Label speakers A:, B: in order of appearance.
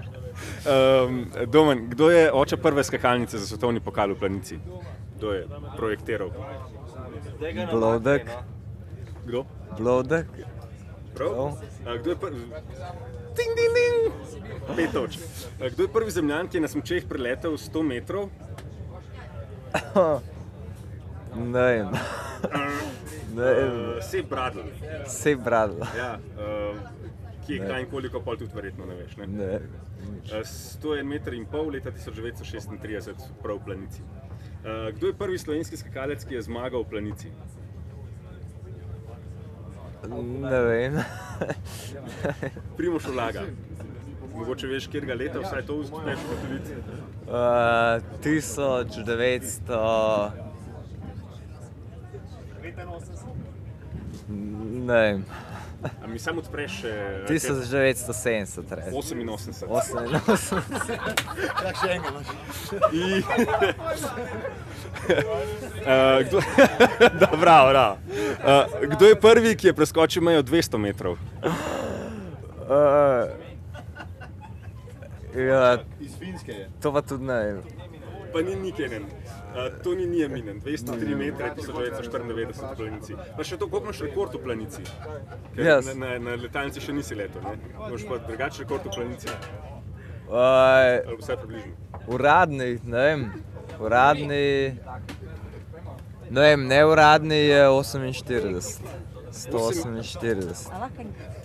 A: Um, Domen, kdo je oče prve skakalnice za svetovni pokal v Planici? Kdo je projektiral?
B: Blodek,
A: Kdo?
C: no.
B: blodek.
A: Prav? A, kdo je prvi? Ding, ding, ding! Pet točk. A, Kdo je prvi zemljan, ki je na smečeh preletel 100 metrov?
B: Ne vem. Ne vem.
A: Uh, Sej Bradl.
B: Sej bradla.
A: Ja, uh, ki je kaj in koliko, pol tudi verjetno ne veš. Ne?
B: Ne vem.
A: Uh, 101 meter in pol leta 1936, prav v Planici. Uh, kdo je prvi slovenski skakalec, ki je zmagal v Planici?
B: Ne vem. Eh,
A: Primoš vlaga. Mogoče veš, kjer ga leta, vsaj to uspeš ugotoviti.
B: Uh, 1900. Ne vem.
A: A mi samo odpreš še eh,
B: 1970, rečemo.
A: 88.
B: 88.
A: I... uh, kdo... da, bravo, bravo. Uh, kdo je prvi, ki je preskočil mejo 200 metrov?
B: Uh, ja,
C: Iz Finske je.
B: to pa tudi ne vem.
A: Pa ni nikenen. Uh, to ni Nijeminen, 203 metre, 1994 v planici. Pa še to, koliko imaš rekord v planici? Ker
B: Jaz.
A: na, na, na letalnici še nisi letel, ne? Imaš pa drugačen rekord v planici,
B: Uh,
A: ali vsaj približno.
B: uradni, ne vem. Uradni. Ne vem, neuradni je 48. 148.
D: A lahko-